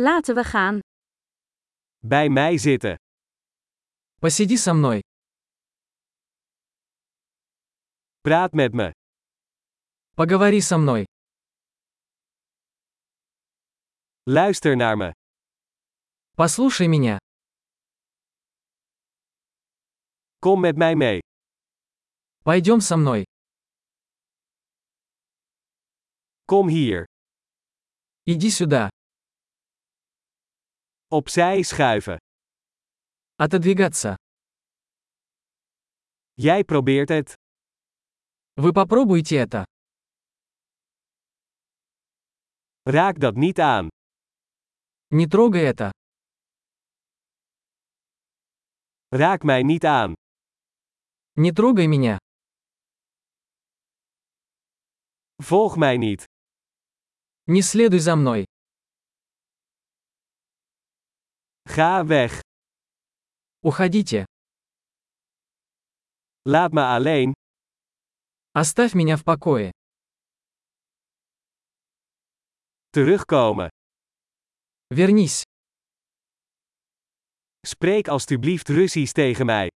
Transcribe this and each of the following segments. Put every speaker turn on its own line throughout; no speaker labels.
Laten we gaan.
Bij mij zitten.
Посиди со мной.
Praat met me.
Поговори со мной.
Luister naar me.
Послушай меня.
Kom met mij mee.
Пойдем со мной.
Kom hier.
Иди сюда.
Opzij schuiven.
Отодвигаться.
Jij probeert het.
Вы попробуйте это.
Raak dat niet aan.
Не трогай это.
Raak mij niet aan.
Не трогай меня.
Volg mij niet.
Не следуй за мной.
Ga weg.
Уходите.
Laat me alleen.
Оставь меня в покое.
Terugkomen.
Вернись.
Spreek alstublieft Russisch tegen mij.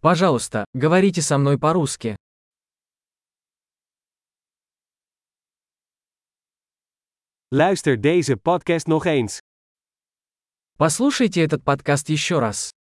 Пожалуйста, говорите со мной по-русски.
Luister deze podcast nog eens.
Послушайте этот подкаст еще раз.